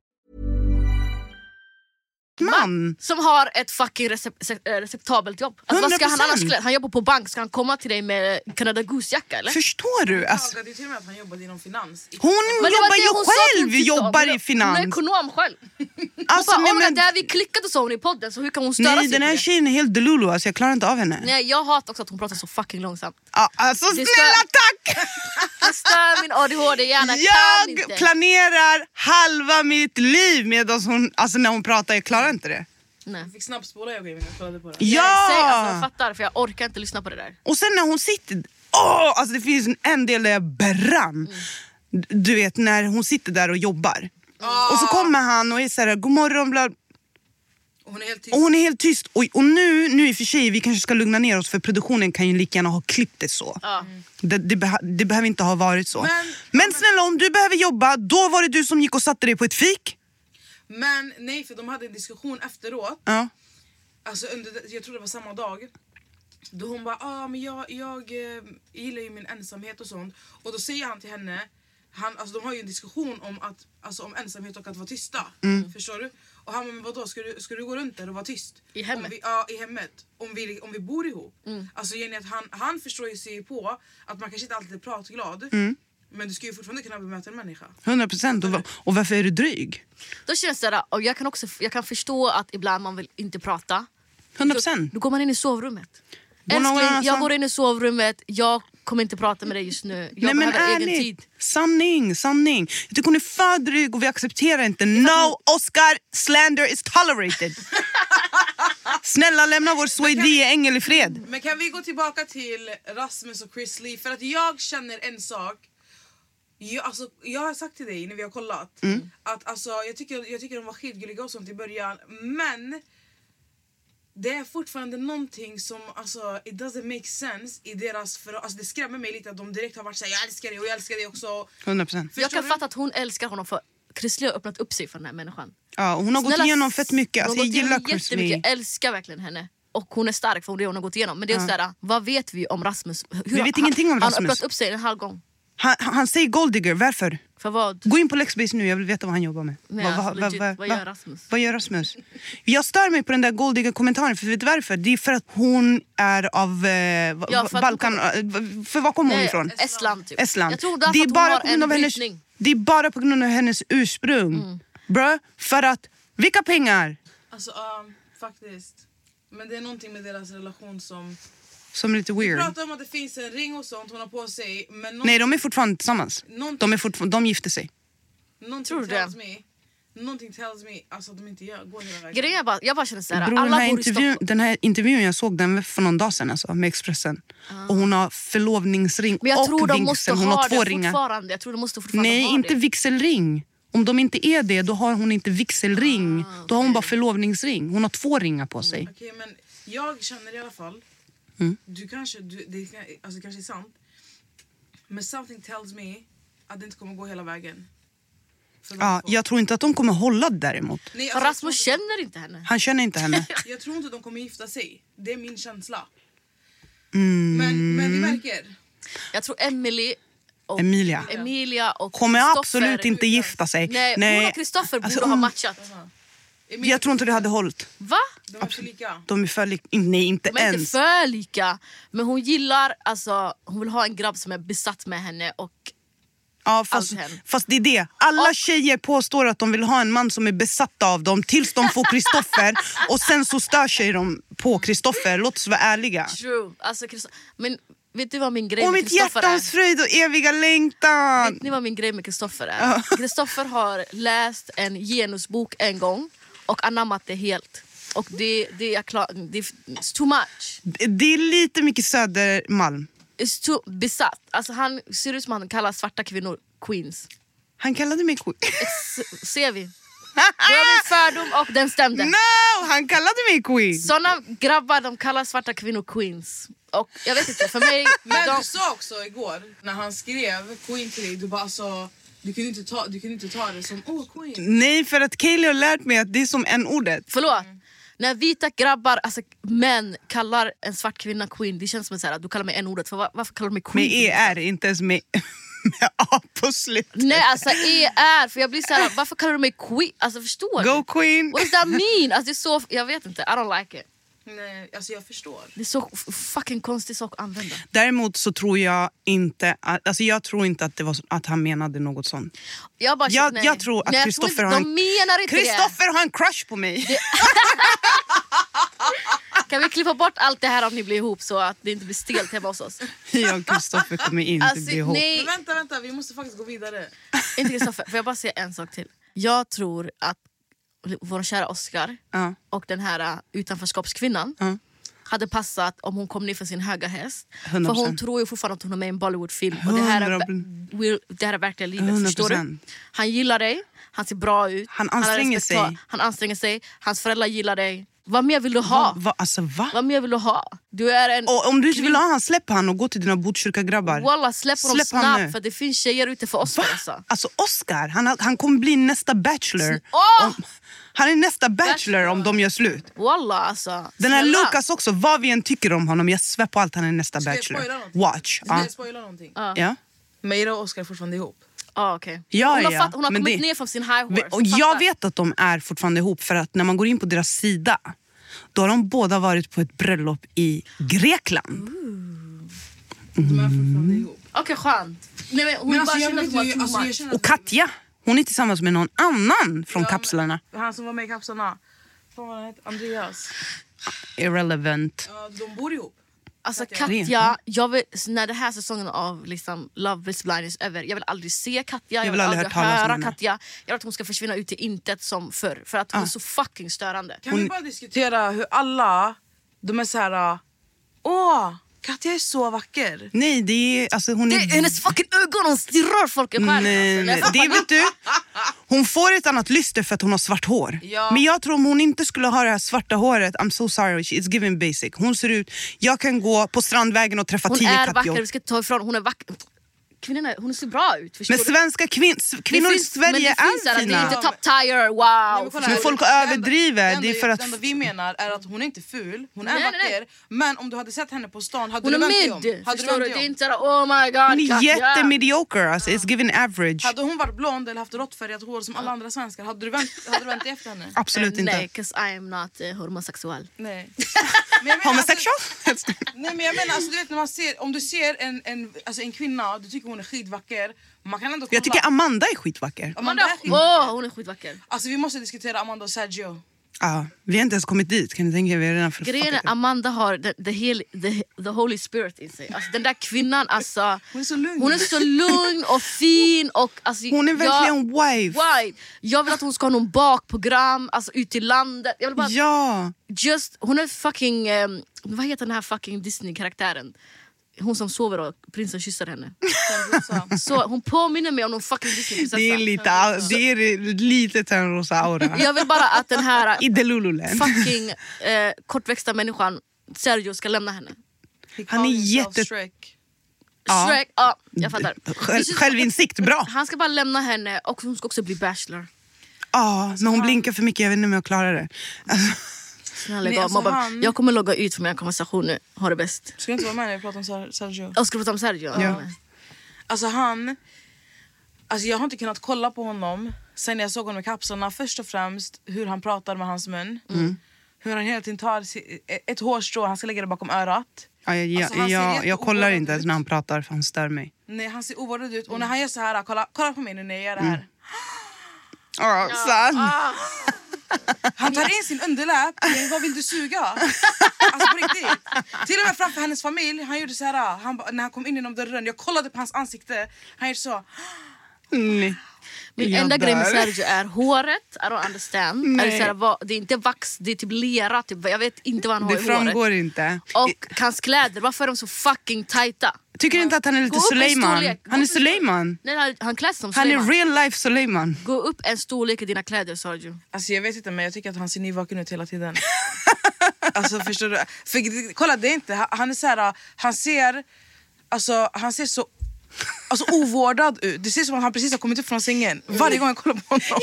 Man!
Som har ett fucking recep- se- eh, receptabelt jobb. Alltså, vad ska han
100%.
annars klä? Han jobbar på bank, ska han komma till dig med Canada Goose-jacka eller?
Förstår du? Alltså,
Det är till och med att han jobbade inom finans.
hon
det var
jobbar
det
ju
hon sa att hon
själv,
tyckte om.
jobbar
Hon-
i finans.
Hon är ekonom själv.
Alltså,
hon bara,
men-
men,
men-
där vi klickade så hon i podden så hur kan hon störa
Nej
sig
den
på
här
det?
tjejen är helt delulu, alltså, jag klarar inte av henne.
Nej jag hatar också att hon pratar så fucking långsamt.
Ah, alltså
Det är
snälla
stö-
tack!
Jag stör min ADHD-hjärna, kan inte.
Jag planerar halva mitt liv medan hon, alltså när hon pratar, jag klarar inte det.
Nej.
Jag fick snabbspola jag och Emil och kollade på det.
Ja!
Säg, alltså, jag fattar för jag orkar inte lyssna på det där.
Och sen när hon sitter... Åh, alltså det finns en- en del där jag brann.
Mm.
D- Du vet när hon sitter där och jobbar.
Ah.
Och så kommer han och är så här, god morgon, bla.
Och hon är helt tyst.
Och hon är helt tyst. Och, och nu, nu i och för sig, vi kanske ska lugna ner oss för produktionen kan ju lika gärna ha klippt det så.
Ja.
Det, det, beha- det behöver inte ha varit så.
Men-
Men snälla, om du behöver jobba, då var det du som gick och satte dig på ett fik.
Men nej, för de hade en diskussion efteråt.
Ja.
Alltså under, jag tror det var samma dag. Då hon bara, ah, men jag, jag eh, gillar ju min ensamhet och sånt. Och då säger han till henne, han, alltså, de har ju en diskussion om, att, alltså, om ensamhet och att vara tysta. Förstår du? Och han bara, men vadå, ska du, ska du gå runt där och vara tyst?
I hemmet?
Om
Mm.
vi, ja, i hemmet. Om vi, om vi bor ihop. Alltså Jenny, att han, han förstår ju sig på att man kanske inte alltid är pratglad. Men du ska ju fortfarande kunna bemöta en människa.
100 procent. Och, va- och varför är du dryg?
Då känns det där, och jag kan också jag kan förstå att ibland man vill inte prata.
100
Då,
procent.
då går man in i sovrummet.
Går någon
Älskling, jag
annanstans?
går in i sovrummet, jag kommer inte prata med dig just nu. Jag behöver egen tid.
Sanning, sanning. Jag tycker hon är för dryg och vi accepterar inte. No Oscar slander is tolerated. Snälla lämna vår Swedie ängel i fred.
Men kan vi gå tillbaka till Rasmus och Chris Lee? För att jag känner en sak. Jag, alltså, jag har sagt till dig när vi har kollat
Mm.
att alltså, jag, tycker, jag tycker de var skitgulliga och sånt i början. Men det är fortfarande någonting som alltså, it doesn't make sense i deras... För, alltså, det skrämmer mig lite att de direkt har varit såhär jag älskar dig och jag älskar dig också.
100 procent.
Jag kan
du?
fatta att hon älskar honom för Chris Lee har öppnat upp sig för den här människan.
Ja, och hon har
Snälla,
gått igenom fett mycket.
hon har
Alltså, jag
gått
gillar
igenom
Chris
jättemycket.
Lee.
Jag älskar verkligen henne. Och hon är stark för det hon har gått igenom. Men det är just sådär, vad vet vi om Rasmus? Hur,
Vi vet ingenting om
Han
Rasmus.
har öppnat upp sig en halv gång.
Han, han säger golddigger, varför?
För vad?
Gå in på Lexbase nu, jag vill veta vad han jobbar med.
Nej,
Vad- vad-
alltså,
vad-
legit,
vad-
vad gör
vad-
Rasmus?
Vad gör Rasmus? Jag stör mig på den där goldiga kommentaren, för vet du varför? Det är för att hon är av eh, va-
Ja, för att
Balkan... eh, För var kommer hon
Nej,
ifrån?
Estland typ.
Estland.
Jag tror därför
det, är
att hon
bara
har
på grund
en
av hennes,
brytning. Mm.
det är bara på grund av hennes ursprung. Bruh, för att, vilka pengar?
Alltså, ja, faktiskt. Men det är någonting med deras relation som...
Som är lite weird.
Prata om att det finns en ring och sånt hon har på sig. Men någon-
Mm. Nej, de är fortfarande tillsammans.
Någonting-
De, är fortfarande, de gifte sig.
Någonting
Tror du det?
tells me, någonting tells me alltså, att de inte gör, går hela vägen.
Grejen är bara, jag bara känner såhär,
Bror, den,
alla
här
bor i
intervjun,
Stockholm.
den här intervjun jag såg den var för någon dag sedan alltså, med Expressen. Och hon har förlovningsring
Ah. Men jag
och
tror de
vigsel.
måste
hon
ha
har två
det
ringar.
fortfarande. Jag tror de måste fortfarande
Nej,
ha
inte
det.
vigselring. Om de inte är det, då har hon inte vigselring.
Ah,
Då har hon bara förlovningsring. Hon har två ringar
Mm,
på sig.
Okej, men jag känner i alla fall, du kanske, du, det, kan- alltså, det kanske är sant, men something tells me att det inte kommer gå hela vägen. För de
Ja,
två.
jag tror inte att de kommer hålla det däremot.
Nej,
För
alltså,
Rasmus
jag,
känner inte henne.
Han känner inte henne.
tror inte, jag tror inte de kommer gifta sig, det är min känsla.
Mm.
Men, men vi märker.
Jag tror Emily och
Emilia.
Emilia och
Kommer
Christopher-
absolut inte gifta sig.
Nej, hon och Kristoffer
Alltså,
borde ha
hon-
matchat.
Emilia,
Jag tror inte det hade hållit.
Va?
De är för lika.
De är för lik- Nej, inte
De är inte
ens.
för lika. Men hon gillar, alltså, hon vill ha en grabb som är besatt med henne och
Ja, fast,
allt hem.
fast det är det. Alla tjejer påstår att de vill ha en man som är besatta av dem tills de får Kristoffer och sen så stör sig de på Kristoffer. Låt oss vara ärliga.
true. Alltså, Christo- men vet du vad min grej
Och
med
mitt
Kristoffer är?
hjärtans fröjd och eviga längtan.
Vet ni vad min grej med Kristoffer är? Kristoffer har läst en genusbok en gång och anammat det helt. Och det, det, är, klar, det är it's too much.
Det är lite mycket Södermalm.
It's too besatt. Alltså han ser ut som han kallar svarta kvinnor queens.
Han kallade mig queen.
S- ser vi? Det var min fördom och den stämde.
No! Han kallade mig queen.
Såna grabbar de kallar svarta kvinnor queens. Och jag vet inte, för mig...
Men
de,
du sa också igår när han skrev Queen till dig, du bara alltså, du kunde inte ta, du kunde inte ta det som åh Queen.
Nej, för att Kaeli har lärt mig att det är som en ordet
förlåt. När vita grabbar, alltså män, kallar en svart kvinna queen, det känns som att så här, du kallar mig en ordet för var, varför kallar du mig queen?
Med E. ER, inte ens med, med A på slutet.
Nej alltså ER, för jag blir så här, varför kallar du mig queen? Alltså förstår
Go
du?
Queen!
What does that mean? Alltså, det är så, jag vet inte, I don't like it.
Nej, alltså jag förstår.
Det är så f- fucking konstig sak att använda.
Däremot så tror jag inte att, alltså jag tror inte att, det var så, att han menade något sånt.
Jag, bara,
Jag-
nej.
jag tror att
Nej,
Christopher
inte-
har
De
en-
menar inte det.
Kristoffer har en crush på mig!
Kan vi klippa bort allt det här om ni blir ihop så att det inte blir stelt hemma hos oss?
Jag och Kristoffer kommer inte
Alltså,
bli ihop.
nej.
Men vänta, vänta, vi måste faktiskt gå vidare.
Inte Kristoffer, får jag bara säga en sak till? Jag tror att vår kära Oscar
Ja.
och den här eh, utanförskapskvinnan
Ja.
hade passat om hon kom ner för sin höga häst. För
100%.
hon tror ju fortfarande att hon är med i en Bollywoodfilm. Och det, här är,
100%.
ver- will- det här är verkliga livet. Förstår du?
100%.
Han gillar dig, han ser bra ut,
Han
har
anstränger
respekta-
sig.
han anstränger sig, hans föräldrar gillar dig. Vad mer vill du ha?
Va, va, alltså va?
Vad mer vill du ha? Du är en...
Och om du inte vill ha han, släpp han och gå till dina Botkyrka-grabbar.
Walla, släpp honom
Släpp han nu.
snabbt för det finns tjejer ute för oss.
Va?
Alltså.
Alltså Oscar, han, har- han kommer bli nästa bachelor.
Åh!
Om, han är nästa bachelor om de gör slut.
Walla alltså.
Den här
Snälla.
Lucas också, vad vi än tycker om honom, jag svär på allt han är nästa
Ska jag spoila
bachelor.
någonting?
Watch.
Ska
Ja.
jag spoila någonting?
Ja.
Meira och Oscar är fortfarande ihop.
Ah, okay.
Ja,
hon har,
ja,
fatt, hon har
men
kommit
det-
ner från sin high horse.
Och jag
Fattar.
vet att de är fortfarande ihop för att när man går in på deras sida då har de båda varit på ett bröllop i Grekland.
Mm.
De är fortfarande ihop.
Okej, skönt. Nej, men hon
Men
bara
alltså, Mm. jag
känner
vet
att hon
ju,
var
alltså,
too
jag
much.
känner
Och
att
Katja, hon är tillsammans med någon annan från kapslarna.
han som var med i Kapslarna, fan vad han heter, Andreas.
Irrelevant.
Ja, de bor ihop.
Alltså
Katja.
Katja, jag vill, när den här säsongen av liksom, Love is blind is över, jag vill aldrig se Katja, jag,
vill aldrig höra talas om
höra
henne. Ah.
Katja. Jag vill att hon ska försvinna ut i intet som förr, för att hon är så fucking störande.
Kan vi bara diskutera hur alla, de är så här... Åh, Katja är så vacker.
Nej, det är, alltså hon
Det
är...
är hennes alltså. fucking ögon, hon stirrar folk i
Nej,
stjärnorna.
nej, nej. Det vet du, hon får ett annat lyster för att hon har svart hår.
Ja.
Men jag tror om hon inte skulle ha det här svarta håret, I'm so sorry, it's giving basic. Hon ser ut, jag kan gå på Strandvägen och träffa
Hon
tio
är vacker,
Katjor.
vi ska inte ta ifrån hon är vacker. Kvinnan är, hon ser bra ut, förstår
Men
du?
svenska kvin, s- kvinnor
Det
i
finns-
Sverige
men det finns
är
här att
fina.
Det är inte top tier, wow.
kolla
Men
här.
folk
Det enda-
överdriver,
enda-
det är för att-
Det enda vi menar är att hon är inte ful, hon är
Nej, nej,
vacker.
nej.
Men om du hade sett henne på stan hade
hon är
du vänt dig om?
mid,
Hade du vänt
förstår du?
dig
Det är
om?
inte såhär oh my god
Hon är
Katja.
jättemediocre, alltså, it's giving average.
Hade hon varit blond eller haft råttfärgat hår som alla andra svenskar, hade du vänt, hade du vänt dig efter henne?
Absolut
Eh,
inte.
Nej, 'cause I am not eh, homosexual.
Nej. Men jag menar,
Homosexual?
Alltså, nej men jag menar alltså, du vet när man ser, om du ser en, en, alltså, en kvinna och du tycker hon är skitvacker, man kan ändå kolla.
Jag tycker Amanda är skitvacker.
Amanda är skit-
Åh, hon är skitvacker.
Alltså vi måste diskutera Amanda och Sergio.
Ja, vi har inte ens kommit dit, kan ni tänka er? Vi är redan för
Grejen är
fuckat.
Amanda har the, the, hel, the, the holy spirit i sig. Alltså, den där kvinnan alltså.
Hon är så lugn.
Hon är så lugn och fin. Och, alltså,
Hon är
jag-
verkligen wife.
Why? Jag vill att hon ska ha någon bakprogram, alltså ut i landet. Jag vill bara,
Ja,
just, hon är fucking, ehm, vad heter den här fucking Disney-karaktären? Hon som sover och prinsen kysser henne. Så hon påminner mig om någon fucking
det är
Disney-prinsessa.
lite, det är lite Törnrosa-aura.
Jag vill bara att den här
I Delululand.
fucking eh, kortväxta människan Sergio ska lämna henne.
Han är jätte-
Shrek.
Ja.
Shrek, ja, jag fattar.
Själv, självinsikt, bra.
Han ska bara lämna henne och hon ska också bli bachelor.
Ja,
Alltså,
men hon blinkar för mycket, jag vet inte om jag klarar det. Alltså,
Snälla,
Nej,
lägg av,
alltså,
mobbar.
han-
Jag kommer logga ut från mina konversationer. Ha det bäst.
Ska du inte vara med när vi pratar om Ser- Sergio?
Jag ska prata om Sergio.
Ja.
Alltså han, alltså jag har inte kunnat kolla på honom sen jag såg honom i kapslarna. Först och främst hur han pratar med hans mun.
Mm.
Hur han hela tiden tar si- e- ett hårstrå, han ska lägga det bakom örat.
ja, jag,
Alltså, han
jag,
ser
jag, jag
jätteovårdad
kollar inte ens
ut.
när han pratar för han stör mig.
Nej, han ser ovårdad ut och när han gör så här, kolla, kolla på mig nu när jag gör det här.
Ja, sant.
Han tar in sin underläpp, vad vill du suga? Alltså på riktigt. Till och med framför hennes familj, han gjorde så här, han, ba- när han kom in genom dörren, jag kollade på hans ansikte, han gjorde så.
Nej.
Min
Jag
enda grej med
dör.
Sergio är håret. I don't understand. Är det, så här, vad, det är inte vax, det är typ lera. Typ. Jag vet inte vad han har
Det
i håret.
framgår inte.
Och hans kläder, varför är de så fucking tajta?
Tycker du inte att han är
Gå
lite
upp i
Suleiman?
storlek, gå
Han är
upp i storlek.
Suleiman.
Nej, han, han klär sig som
Han är
Suleiman.
real life Suleiman.
Gå upp en storlek i dina kläder Sergio.
Alltså jag vet inte men jag tycker att han ser nyvaken ut hela tiden. alltså förstår du? För, kolla det är inte, han är så här, han ser, alltså han ser så Alltså ovårdad ut. Det ser ut som att han precis har kommit upp från sängen. Varje gång jag kollar på honom.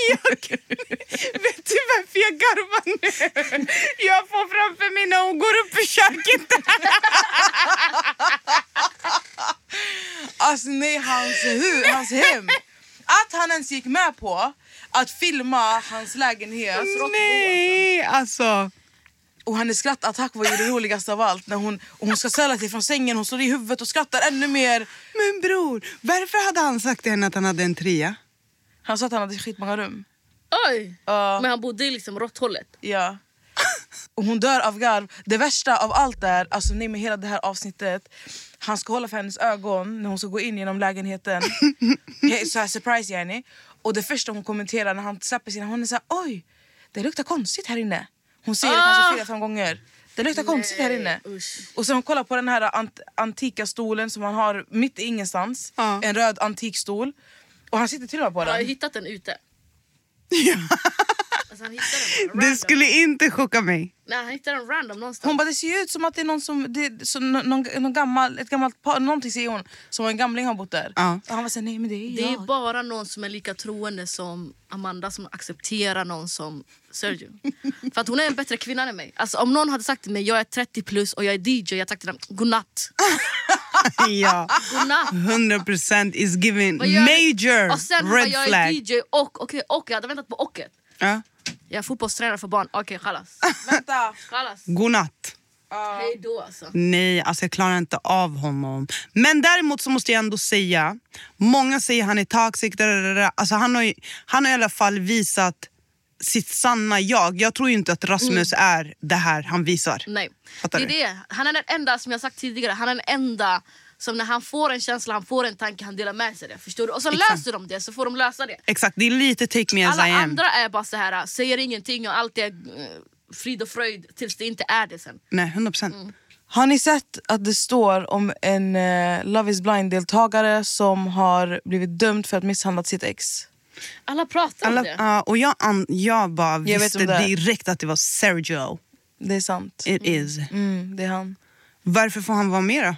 Vet du varför jag garvar nu? Jag får framför mig när hon går upp i köket.
Alltså nej, hans, hu- hans hem. Att han ens gick med på att filma hans lägenhet.
Nej, alltså.
Och hennes skrattattack var ju det roligaste av allt. När hon, och hon ska ställa sig från sängen, hon slår i huvudet och skrattar ännu mer.
Men bror, varför hade han sagt till henne att han hade en trea?
Han sa att han hade skitmånga rum.
Oj!
Ja.
Men han bodde i liksom råtthållet.
Ja. Och hon dör av garv. Det värsta av allt är, alltså nej men hela det här avsnittet. Han ska hålla för hennes ögon när hon ska gå in genom lägenheten. He- så här surprise yani. Och det första hon kommenterar när han släpper sina, hon är såhär oj, det luktar konstigt här inne. Hon säger det kanske fyra, fem gånger. Det luktar konstigt här inne.
usch.
Och sen hon kollar på den här ant- antika stolen som han har mitt i ingenstans.
Ja.
En röd antik stol. Och han sitter till och med på
Jag har ju
den.
hittat den ute. Alltså, han hittade den bara
Det
random.
skulle inte chocka mig.
Nej, han hittade den random någonstans.
Hon bara det ser ju ut som att det är någon som, det, så, nå- någon, någon gammal, ett gammalt par, någonting säger hon, som en gamling har bott där.
Ja.
Och han var såhär, nej men det är
Det är
jag.
bara någon som är lika troende som Amanda som accepterar någon som Sergio. För att hon är en bättre kvinna än mig. Alltså om någon hade sagt till mig jag är 30 plus och jag är DJ, jag hade sagt till dem godnatt.
Ja,
godnatt.
100% is given
Vad gör-
major
Och sen bara,
red
jag är
flag.
DJ och, okej och, jag hade väntat på ocket.
Ja.
Jag är fotbollstränare för barn, okej chalas.
Vänta.
Chalas.
Godnatt.
Hej då alltså.
Nej, alltså jag klarar inte av honom. Men däremot så måste jag ändå säga, många säger han är toxic, da, da, da, da. Alltså han, har ju, han har i alla fall visat sitt sanna jag. Jag tror ju inte att Rasmus är det här han visar.
Mm. Nej.
Fattar
det är
du?
det. Han är den enda, som jag sagt tidigare, han är den enda som när han får en känsla, han får en tanke, han delar med sig det. Förstår du? Och så
Exakt.
löser de det, så får de lösa det.
Exakt, det är lite take me as
Alla
I am.
andra är bara så här, säger ingenting och allt är eh, frid och fröjd tills det inte är det sen.
Nej, 100 procent.
Mm,
Har ni sett att det står om en eh, Love is blind-deltagare som har blivit dömd för att misshandlat sitt ex?
Alla pratar om det.
Ja, och jag, an- jag bara
vet
visste
om det.
direkt att det var Sergio.
Det är sant.
It is.
Mm, det är han.
Varför får han vara med då?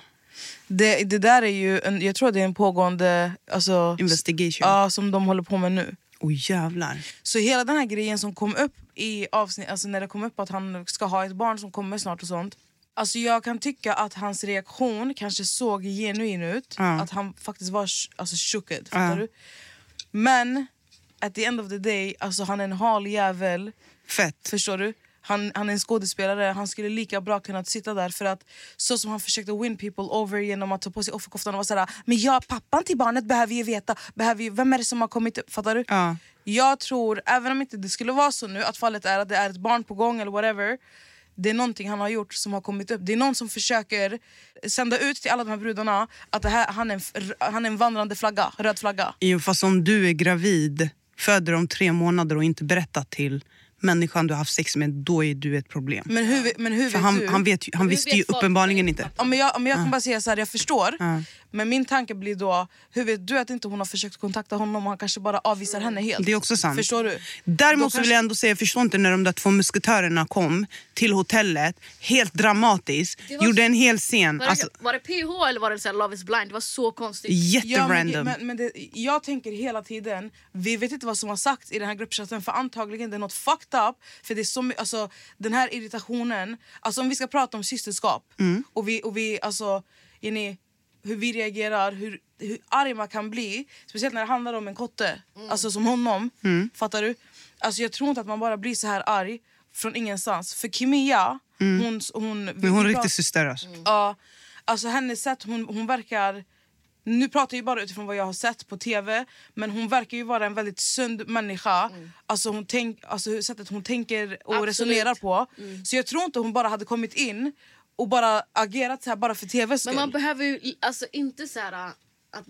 Det, det där är ju, en, jag tror det är en pågående... Alltså,
Investigation. Åh
Ja, som de håller på med nu.
jävlar.
Så hela den här grejen som kom upp i avsnitt, alltså när det kom upp att han ska ha ett barn som kommer snart och sånt. Alltså jag kan tycka att hans reaktion kanske såg genuin ut.
Ja.
Att han faktiskt var sh- alltså, shooked. Fattar du? Men at the end of the day, alltså han är en hal jävel.
Fett.
Förstår du? Han, han är en skådespelare, han skulle lika bra kunnat sitta där för att så som han försökte win people over genom att ta på sig offerkoftan och vara såhär Men jag, pappan till barnet behöver ju veta, behöver ju, vem är det som har kommit upp? Fattar du?
Ja.
Jag tror, även om inte det skulle vara så nu, att fallet är att det är ett barn på gång eller whatever det är någonting han har gjort som har kommit upp. Det är någon som försöker sända ut till alla de här brudarna att det här, han, är en, f- han är en vandrande flagga, röd flagga.
Jo, fast om du är gravid, föder om tre månader och inte berättar till människan du har haft sex med, då är du ett problem.
Men hur, men hur
För
vet
han,
du?
han, vet, ju- han
Hur
visste
vet
ju
folk
uppenbarligen
det?
inte.
Ja, men jag, men jag kan bara säga så här, jag förstår.
Ja.
Men min tanke blir då, hur vet du att inte hon har försökt kontakta honom och han kanske bara avvisar henne helt?
Det är också sant.
Förstår du? Då
Däremot så
kanske-
vill jag ändå säga, jag förstår inte när de där två musketörerna kom till hotellet, helt dramatiskt,
Det var-
gjorde en hel scen.
Var det,
Alltså,
var det PH eller var det så här, Love is blind? Det var så konstigt.
Ja, men,
jätterandom.
men, men det, jag tänker hela tiden, vi vet inte vad som har sagts i den här gruppchatten för antagligen det är något fucked up. För det är så, my- alltså, den här irritationen, alltså om vi ska prata om systerskap
Mm.
och vi, och vi alltså, är ni, hur vi reagerar, hur, hur arg man kan bli. Speciellt när det handlar om en kotte, alltså som honom.
Mm.
Fattar du? Alltså jag tror inte att man bara blir så här arg från ingenstans. För Kimia, hon... hon,
Mm. Men hon är
vi
riktig
pratar-
syster alltså.
Mm.
Mm.
Ja, alltså hennes sätt, hon, hon verkar... Nu pratar jag ju bara utifrån vad jag har sett på tv men hon verkar ju vara en väldigt sund människa. Alltså, hon tänk, alltså hur- sättet hon tänker och
Mm. Absolut. Mm.
resonerar på. Så jag tror inte hon bara hade kommit in och bara agerat så här bara för tvs skull.
Men man behöver ju alltså, inte så här, att,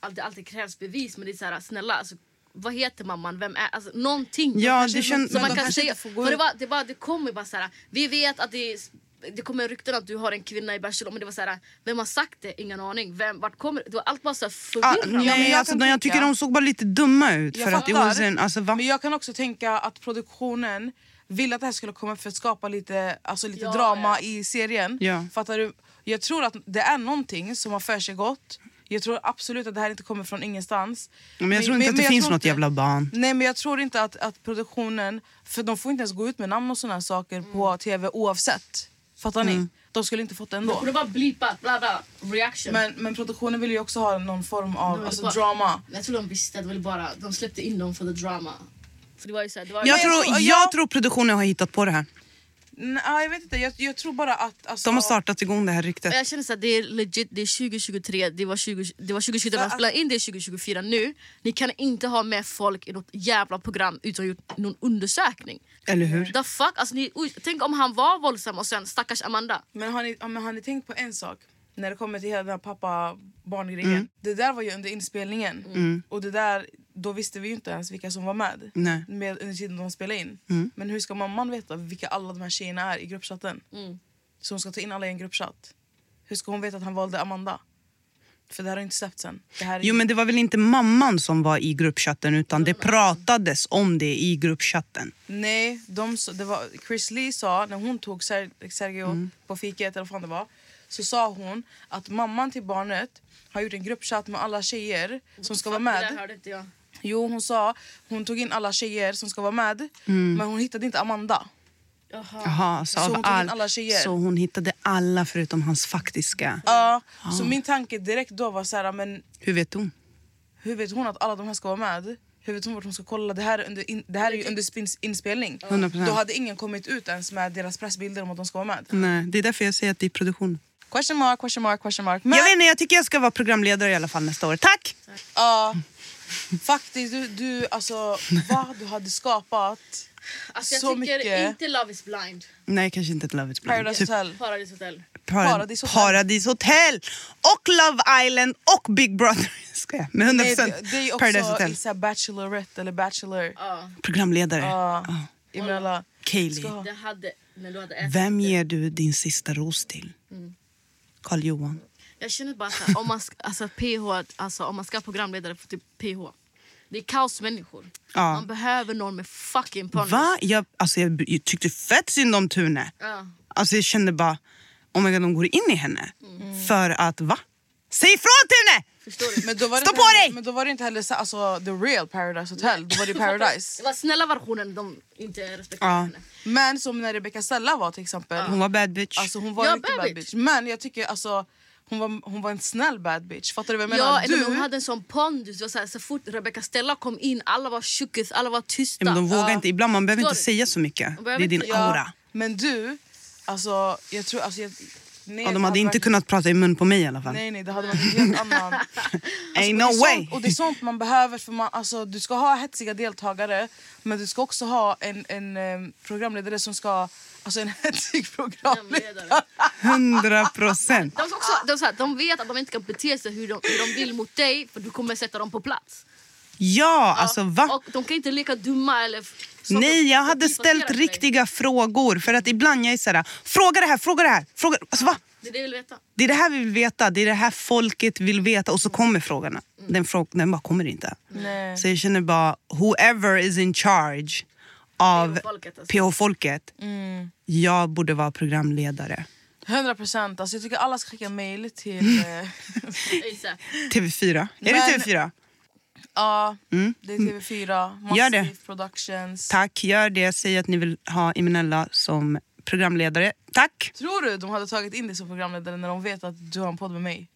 att det alltid krävs bevis, men det är så här, snälla, alltså, vad heter mamman? Vem är? Alltså, någonting.
Ja,
Kanske
det
någon-
känns-
som man
de
kan
kanske
säga.
inte får gå
För det,
ut.
var, det, var, det kom ju bara så här, vi vet att det, är- det kommer rykten att du har en kvinna i Barcelona, men det var så här, vem har sagt det? Ingen aning. Vem, vart kommer det? var allt bara så här
Ah,
förvirrande.
nej,
jag
alltså,
kan
de- jag tycker
tänka-
de såg bara lite dumma ut.
Jag
För att det
fattar.
was en, alltså, va?
Men jag kan också tänka att produktionen ville att det här skulle komma för att skapa lite, alltså lite
Ja,
drama
ja.
i serien.
Ja.
Fattar du? Jag tror att det är någonting som har för sig gått. Jag tror absolut att det här inte kommer från ingenstans.
Men jag tror inte att det
jag
finns
tror
något
inte-
jävla barn.
Nej men jag tror inte att, att produktionen, för de får inte ens gå ut med namn och sådana saker
Mm.
på tv oavsett. Fattar ni?
Mm.
De skulle inte fått det
Det
ändå.
borde vara blipat, bla bla, reaction.
Men, men produktionen vill ju också ha någon form
De
av
ville
alltså,
bara-
drama.
Men Jag tror de visste, det var bara, de släppte in dem för the drama. För det var ju så här, det var
Jag
ju-
tror, jag tror produktionen har hittat på det här.
Nej, jag vet inte, jag, jag tror bara att... Alltså,
De har startat igång det här ryktet.
Och Jag känner såhär, det är legit, det är 2023, det var, 20, det var 2023 när man spelade in det är 2024 nu. Ni kan inte ha med folk i något jävla program utan att ha gjort någon undersökning.
Eller hur?
The fuck? Alltså, ni, oj, tänk om han var våldsam och sen stackars Amanda.
Men har, ni, ja, men har ni tänkt på en sak? När det kommer till hela den här pappa-barn-grejen.
Mm.
Det där var ju under inspelningen. Och det där, då visste vi ju inte ens vilka som var med.
Nej. Mm.
med under tiden de spelade in. Men hur ska mamman veta vilka alla de här tjejerna är i gruppchatten? Så hon ska ta in alla i en gruppchatt. Hur ska hon veta att han valde Amanda? För det här har inte släppts än. Det här är
Jo men det var väl inte mamman som var i gruppchatten utan det pratades om det i gruppchatten.
Nej, de, sa- det var, Chris Lee sa när hon tog Ser, Sergio
Mm.
på fiket eller vad fan det var så sa hon att mamman till barnet har gjort en gruppchatt med alla tjejer som ska vara
Det där
med.
hörde inte jag.
Jo, hon sa hon tog in alla tjejer som ska vara med
Mm.
men hon hittade inte Amanda.
Jaha.
Jaha, så,
Så
av
hon tog in
all...
alla tjejer?
så hon hittade alla förutom hans faktiska.
Ja,
Ah.
så min tanke direkt då var så här, men
Hur vet hon?
Hur vet hon att alla de här ska vara med? Hur vet hon vart hon ska kolla? Det här, är under in, det här är ju under spins, inspelning.
100%.
Då hade ingen kommit ut ens med deras pressbilder om att de ska vara med.
Nej, det är därför jag säger att det är produktion.
Question mark, question mark, question mark. Men
Jag vet inte, jag tycker jag ska vara programledare i alla fall nästa år. Tack!
ja, faktiskt, du, du, alltså, vad du hade skapat.
Alltså, jag
Så
tycker
mycket.
inte Love is blind.
Nej, kanske inte ett Love is blind.
Paradise
Typ
Hotel.
Paradise Hotel.
Par-
Paradis Hotel.
Paradis Hotel! Och Love Island och Big Brother. Ska jag? Med 100%
Nej, det, det är också
Paradise Hotel.
i så här Bachelorette eller Bachelor.
Ja.
Programledare.
Ja.
Ja.
Jag menar alla-
Kaeli.
Det hade, när du hade ätit
Vem
det.
ger du din sista ros till?
Mm.
Karl Johan.
Jag känner bara så här, om man ska, alltså, PH, alltså, om man ska ha programledare för typ PH. Det är kaosmänniskor.
Ja.
Man behöver någon med fucking pondus.
Va? Jag, alltså jag, jag tyckte fett synd om Tune.
Ja.
Alltså jag kände bara, oh my god, de går in i henne. För att va? Säg ifrån Tune!
Förstår du?
Mm. Men då var det
Stå
inte
på
heller,
dig!
Men då var det inte heller så, alltså, the real Paradise Hotel. Då var det
Det
Paradise.
var snälla versionen de inte respekterar
Ja.
henne.
Men som när Rebecca Stella var till exempel.
Hon var bad bitch.
Alltså hon var
Ja,
en riktig
bad
bad
bitch.
bitch. Men jag tycker alltså hon var, hon var en snäll bad bitch. Fattar du vad jag menar?
Ja, eller
du,
men hon hade en sån pondus. Det var Så, här, så fort Rebecca Stella kom in, alla var tjuckis, alla var
Ja,
tysta.
men de vågar
Ja.
inte. Ibland man behöver inte
Förstår du?
säga så mycket. Det
behöver
är din
inte-
ja,
aura.
Men du, alltså jag tror... Alltså, jag, nej,
Ja,
det
de hade inte
varit-
kunnat prata i mun på mig i alla fall.
Nej nej det hade varit en helt annan...
Ain't
och det
no
är
way!
Sånt, och det är sånt man behöver för man, alltså, du ska ha hetsiga deltagare men du ska också ha en, en eh, programledare som ska... Alltså en hetsig programledare.
Programledare.
100 procent.
De, ska också, de, så här, de vet att de inte kan bete sig hur de, hur de vill mot dig för du kommer sätta dem på plats.
Ja, alltså va?
Och de kan inte leka dumma eller... f-
Nej, jag
så-
hade
så irriterar
ställt
mig.
riktiga frågor. För att ibland jag är såhär, fråga det här, fråga det här. Fråga, alltså va?
Det är det jag vill veta.
Det är det här vi vill veta, det är det här folket vill veta. Och så kommer frågorna. Den, frå- den bara kommer inte.
Mm. Nej.
Så jag känner bara, whoever is in charge av
PH-folket, alltså.
PH-folket,
Mm.
jag borde vara programledare.
100 procent. Alltså, jag tycker alla ska skicka mail till... eh,
ASAP.
TV4. Är
Men-
det TV4?
Ja, det är TV4.
Mm. Gör
Massive
det.
Productions.
Tack, gör det. Säg att ni vill ha Imenella som programledare. Tack!
Tror du de hade tagit in dig som programledare när de vet att du har en podd med mig?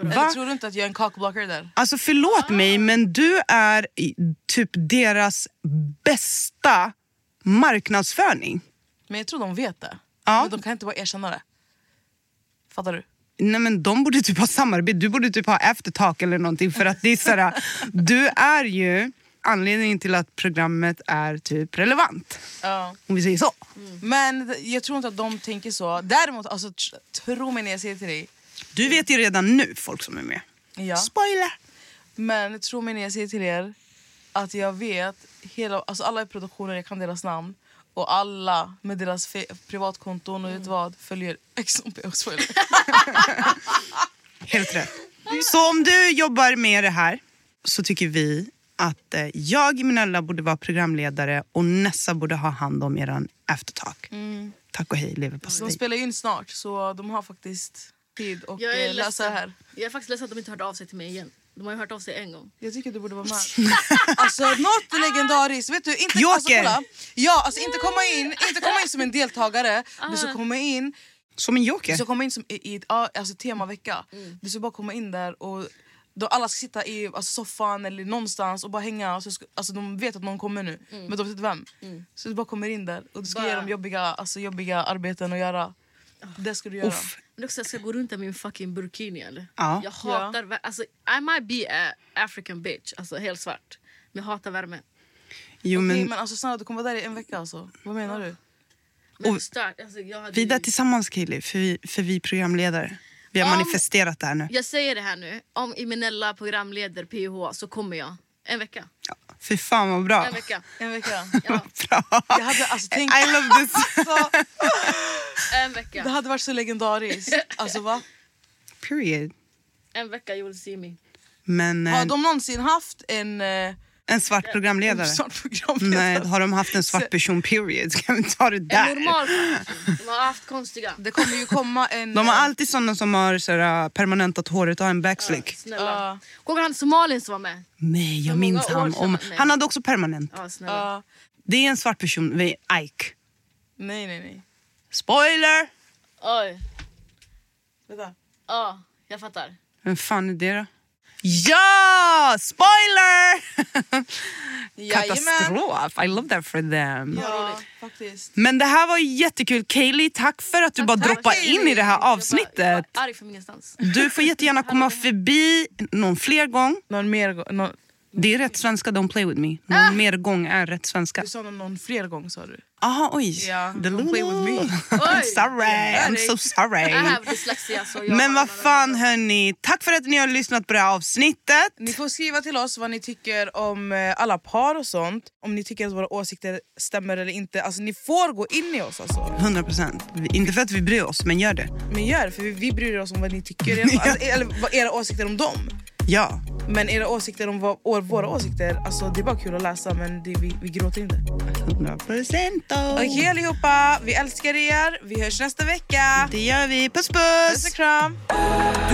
Eller
Va?
tror du inte att jag är en cockblocker där?
Alltså förlåt
Ah.
mig, men du är i- typ deras bästa marknadsföring.
Men jag tror de vet det.
Ja.
Men de kan inte bara erkänna det. Fattar du?
Nej, men de borde typ ha samarbete, du borde typ ha eftertak eller någonting. För att det är såhär, du är ju anledningen till att programmet är typ relevant.
Ja. Mm.
Om vi säger så.
Men d- jag tror inte att de tänker så. Däremot, alltså, tr- tro mig när jag säger till dig.
Du vet ju redan nu folk som är med.
Ja.
Spoiler!
Men tro mig när jag säger till er att jag vet hela, alltså alla i produktionen, jag kan deras namn. Och alla med deras fe- privatkonton och
Mm.
vet vad följer XOP och spoiler.
Helt rätt. Så om du jobbar med det här så tycker vi att eh, jag, Minella, borde vara programledare och Nessa borde ha hand om
Mm.
eran eftertak. Tack och hej, leverpastej.
De spelar ju in snart så de har faktiskt tid och
Jag är
eh, lösa det
ledsen.
här.
Jag är faktiskt ledsen att de inte hörde av sig till mig igen. De har ju hört av sig en gång.
Jag tycker du borde vara med. alltså något legendariskt. Vet du, inte, alltså,
Joker.
kolla. Ja, alltså, inte, komma in, inte komma in som en deltagare, du ska komma in,
Som en
du
joker.
ska komma in som i, i ett ja, alltså, temavecka. Du ska bara komma in där och då alla ska sitta i alltså, soffan eller någonstans och bara hänga. Och så ska, alltså, de vet att någon kommer nu, men de vet inte vem. Så du bara kommer in där och du ska ge
Bara-
dem jobbiga, alltså, jobbiga arbeten att göra. Det ska du göra.
Uff.
Men också jag ska gå runt med min fucking burkini eller?
Ja.
Jag hatar värme. Alltså, I might be a African bitch, alltså helt svart. Men jag hatar värme.
Jo,
Men,
men
men alltså, snälla, du kommer vara där i en vecka alltså. Vad menar du?
Men
Och-
stört. Alltså, jag hade
vi är där
ju-
tillsammans Kaeli, för vi, för vi är programledare. Vi har
Om-
manifesterat det här nu.
Jag säger det här nu. Om Imenella programleder PH så kommer jag. En vecka.
Fy fan vad bra.
En vecka.
En vecka.
Ja,
bra.
Jag hade, alltså, tänk,
Ah. I love this.
alltså,
en
Det
vecka.
hade varit så legendariskt. Alltså, va?
Period.
En vecka you will see me.
Men
Har
eh,
de någonsin haft en eh,
en svart programledare?
svart programledare?
Nej, har de haft en svart person period? Ska vi ta det
En
där?
normal person. De har haft konstiga.
Det kommer ju komma en... eh,
De har alltid såna som har såhär, permanentat håret och har en backslick.
Snälla. Kommer han Somalien som var med?
Nej, jag
Hur många
minns
år
han.
sedan?
Om,
Nej.
han hade också permanent.
Ja, snälla.
Ja.
Det är en svart person, vi- Ike.
nej, nej, nej.
Spoiler!
Oj.
Vänta.
Ja, jag fattar.
Vem fan är det då? Ja! Spoiler!
Jajamän.
Katastrof! I love that for them.
Ja, faktiskt.
Men det här var ju jättekul. Kaylee, tack för att du bara
tack,
droppade
Kaylee.
in i det här
Jag var, jag
avsnittet.
var arg från ingenstans.
Du får jättegärna komma förbi någon fler gång.
Någon mer gång? Någon,
Det är rätt svenska, don't play with me.
Ah.
Någon mer gång är rätt svenska.
du sa någon, någon fler gång sa du?
Aha, oj.
Ja,
The
don't play with me.
Lulu.
Oj.
I'm sorry, I'm so
I
sorry.
have Äh, dyslexia. Så jag
Men vad fan hörni, tack för att ni har lyssnat på det här avsnittet.
Ni får skriva till oss vad ni tycker om eh, alla par och sånt. Om ni tycker att våra åsikter stämmer eller inte. Alltså ni får gå in i oss alltså.
100 procent. Inte för att vi bryr oss, men gör det.
Men gör det, för vi, vi bryr oss om vad ni tycker. Alltså, eller vad era åsikter om dem.
Ja.
Men era åsikter om vad, och våra åsikter, alltså det är bara kul att läsa men det, vi, vi gråter inte.
100 procent.
Okej allihopa, vi älskar er. Vi hörs nästa vecka.
Det gör vi. Puss
Puss
puss!
och kram.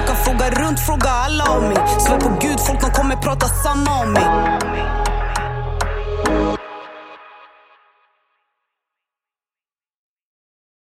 Du kan fråga runt, fråga alla om mig Svär på gud, folk de kommer prata samma om mig